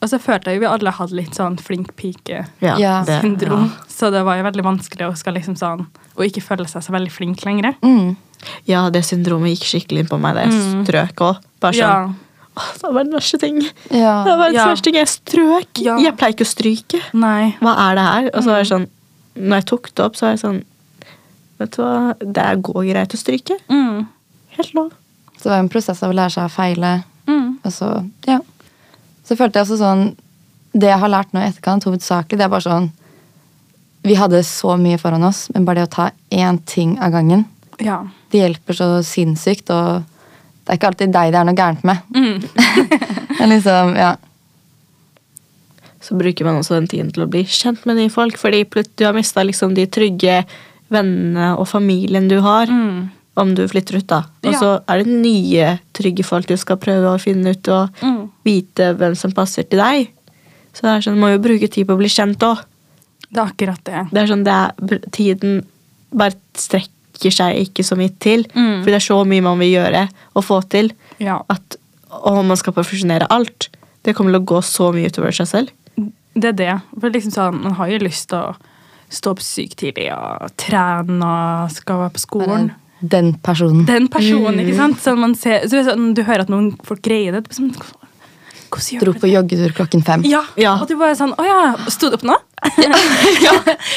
Speaker 2: Og så følte jeg jo vi alle hadde litt sånn flink pike-syndrom.
Speaker 3: Ja.
Speaker 1: det-
Speaker 2: Så det var jo veldig vanskelig å, skal liksom sånn, å ikke føle seg så veldig flink lenger.
Speaker 3: Mm.
Speaker 1: ja. ja, det syndromet gikk skikkelig inn på meg. Det strøk òg. Bare
Speaker 2: Mm. Ja.
Speaker 1: sånn «Åh, Det var den verste ting.
Speaker 3: Ja.
Speaker 1: Det var den
Speaker 2: Ja.
Speaker 1: verste ting. Jeg strøk.
Speaker 2: Ja. Mm.
Speaker 1: Jeg pleier ikke å stryke.
Speaker 2: Nei.
Speaker 1: hva er det her? Og så var jeg sånn, når jeg tok det opp, så var jeg sånn, vet du hva, det går greit å stryke.
Speaker 2: Mm.
Speaker 1: Helt lov.
Speaker 3: Så det var en prosess av å lære seg å feile.
Speaker 2: Mm.
Speaker 3: Og så, ja. Så følte jeg også sånn Det jeg har lært nå i etterkant, hovedsakelig, det er bare sånn Vi hadde så mye foran oss, men bare det å ta én ting av gangen,
Speaker 2: Ja.
Speaker 3: det hjelper så sinnssykt. Og det er ikke alltid deg det er noe gærent med.
Speaker 2: Mm.
Speaker 3: men liksom, ja.
Speaker 1: Så bruker man også den tiden til å bli kjent med nye folk, fordi plut- du har mistet liksom de trygge vennene og familien du har, om du flytter ut da. Og
Speaker 2: Mm. Ja.
Speaker 1: så er det nye trygge folk du skal prøve å finne ut, og
Speaker 2: Mm.
Speaker 1: vite hvem som passer til deg. Så det er sånn, du må jo bruke tid på å bli kjent også.
Speaker 2: Det er akkurat det.
Speaker 1: det er sånn det er, br- tiden bare strekker seg ikke så mye til.
Speaker 2: Mm.
Speaker 1: For det er så mye man vil gjøre og få til.
Speaker 2: Ja.
Speaker 1: At om man skal perfeksjonere alt, det kommer til å gå så mye utover seg selv.
Speaker 2: Det er det. For liksom sånn, man har jo lyst til å stå opp sykt tidlig og trene og skal være på
Speaker 3: Bare
Speaker 2: skolen.
Speaker 3: den personen.
Speaker 2: Den personen,
Speaker 3: Mm.
Speaker 2: ikke sant? Så man ser, så det er sånn, du hører at noen folk greier det. det er sånn, Hvordan gjør
Speaker 3: Dro
Speaker 2: du det?
Speaker 3: på joggetur klokken fem.
Speaker 2: Ja.
Speaker 1: Ja.
Speaker 2: Og du bare sånn Å ja, sto du opp nå?
Speaker 1: Det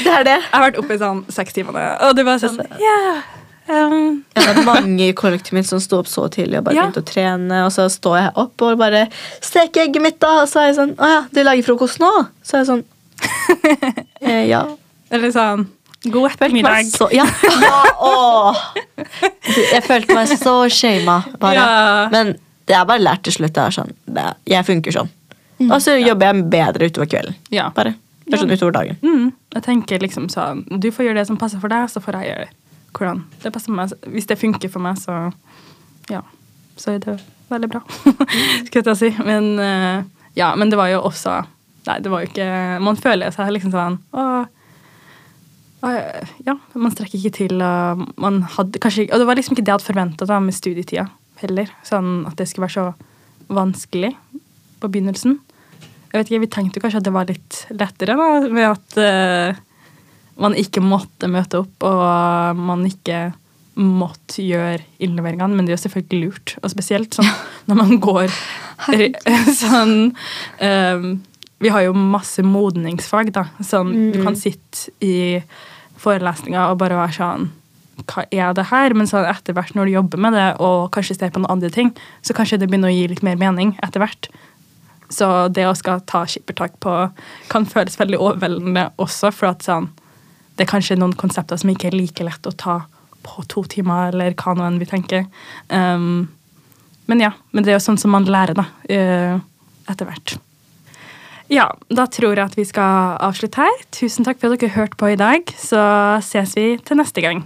Speaker 1: er det.
Speaker 2: Jeg har vært oppe i sånn seks timer, nå, og du bare sånn Ja. ehm,
Speaker 1: Jeg var mange i kollektivet mitt som sto opp så tidlig og bare
Speaker 2: Ja.
Speaker 1: begynte å trene. Og så står jeg opp og bare steker egget mitt, da. Og så er jeg sånn Å ja, du lager frokost nå? Så er jeg sånn eh, Ja.
Speaker 2: eller sånn God ettermiddag.
Speaker 1: Så, ja. ja åh. Jeg følte meg så shama. Bare.
Speaker 2: Ja.
Speaker 1: Men det er bare lært til slutt. Det er sånn, det er, jeg funker sånn. Og så jobber jeg bedre utover kvelden.
Speaker 2: Mm. Ja.
Speaker 1: Bare, bare sånn utover dagen.
Speaker 2: Mm, jeg tenker liksom sånn Du får gjøre det som passer for deg, så får jeg gjøre hvordan det passer for meg. Hvis det funker for meg, så ja. Så er det veldig bra, skulle jeg til å si. Men eh, ja, men det var jo også Nei, det var jo ikke Man føler seg liksom sånn Å, å, ja, man strekker ikke til, og man hadde kanskje ikke Og det var liksom ikke det jeg hadde forventa med studietida heller. Sånn at det skulle være så vanskelig på begynnelsen. Jeg vet ikke, Vi tenkte jo kanskje at det var litt lettere da, ved at eh, man ikke måtte møte opp, og eh, man ikke måtte gjøre innleveringene, men det er jo selvfølgelig lurt. Og spesielt sånn når man går sånn eh, Vi har jo masse modningsfag, da. Sånn, Du kan sitte i forelesninga og bare være sånn hva er det her? Men så etter hvert når du jobber med det, og kanskje ser på noen andre ting, så kanskje det begynner å gi litt mer mening etter hvert. Så det å skal ta skippertak på kan føles veldig overveldende også, for at sånn, det er kanskje noen konsepter som ikke er like lett å ta på to timer, eller hva nå enn vi tenker. Um, men ja, men det er jo sånn som man lærer, da, eh, etter hvert. Ja, da tror jeg at vi skal avslutte her. Tusen takk for at dere hørte på i dag, så ses vi til neste gang.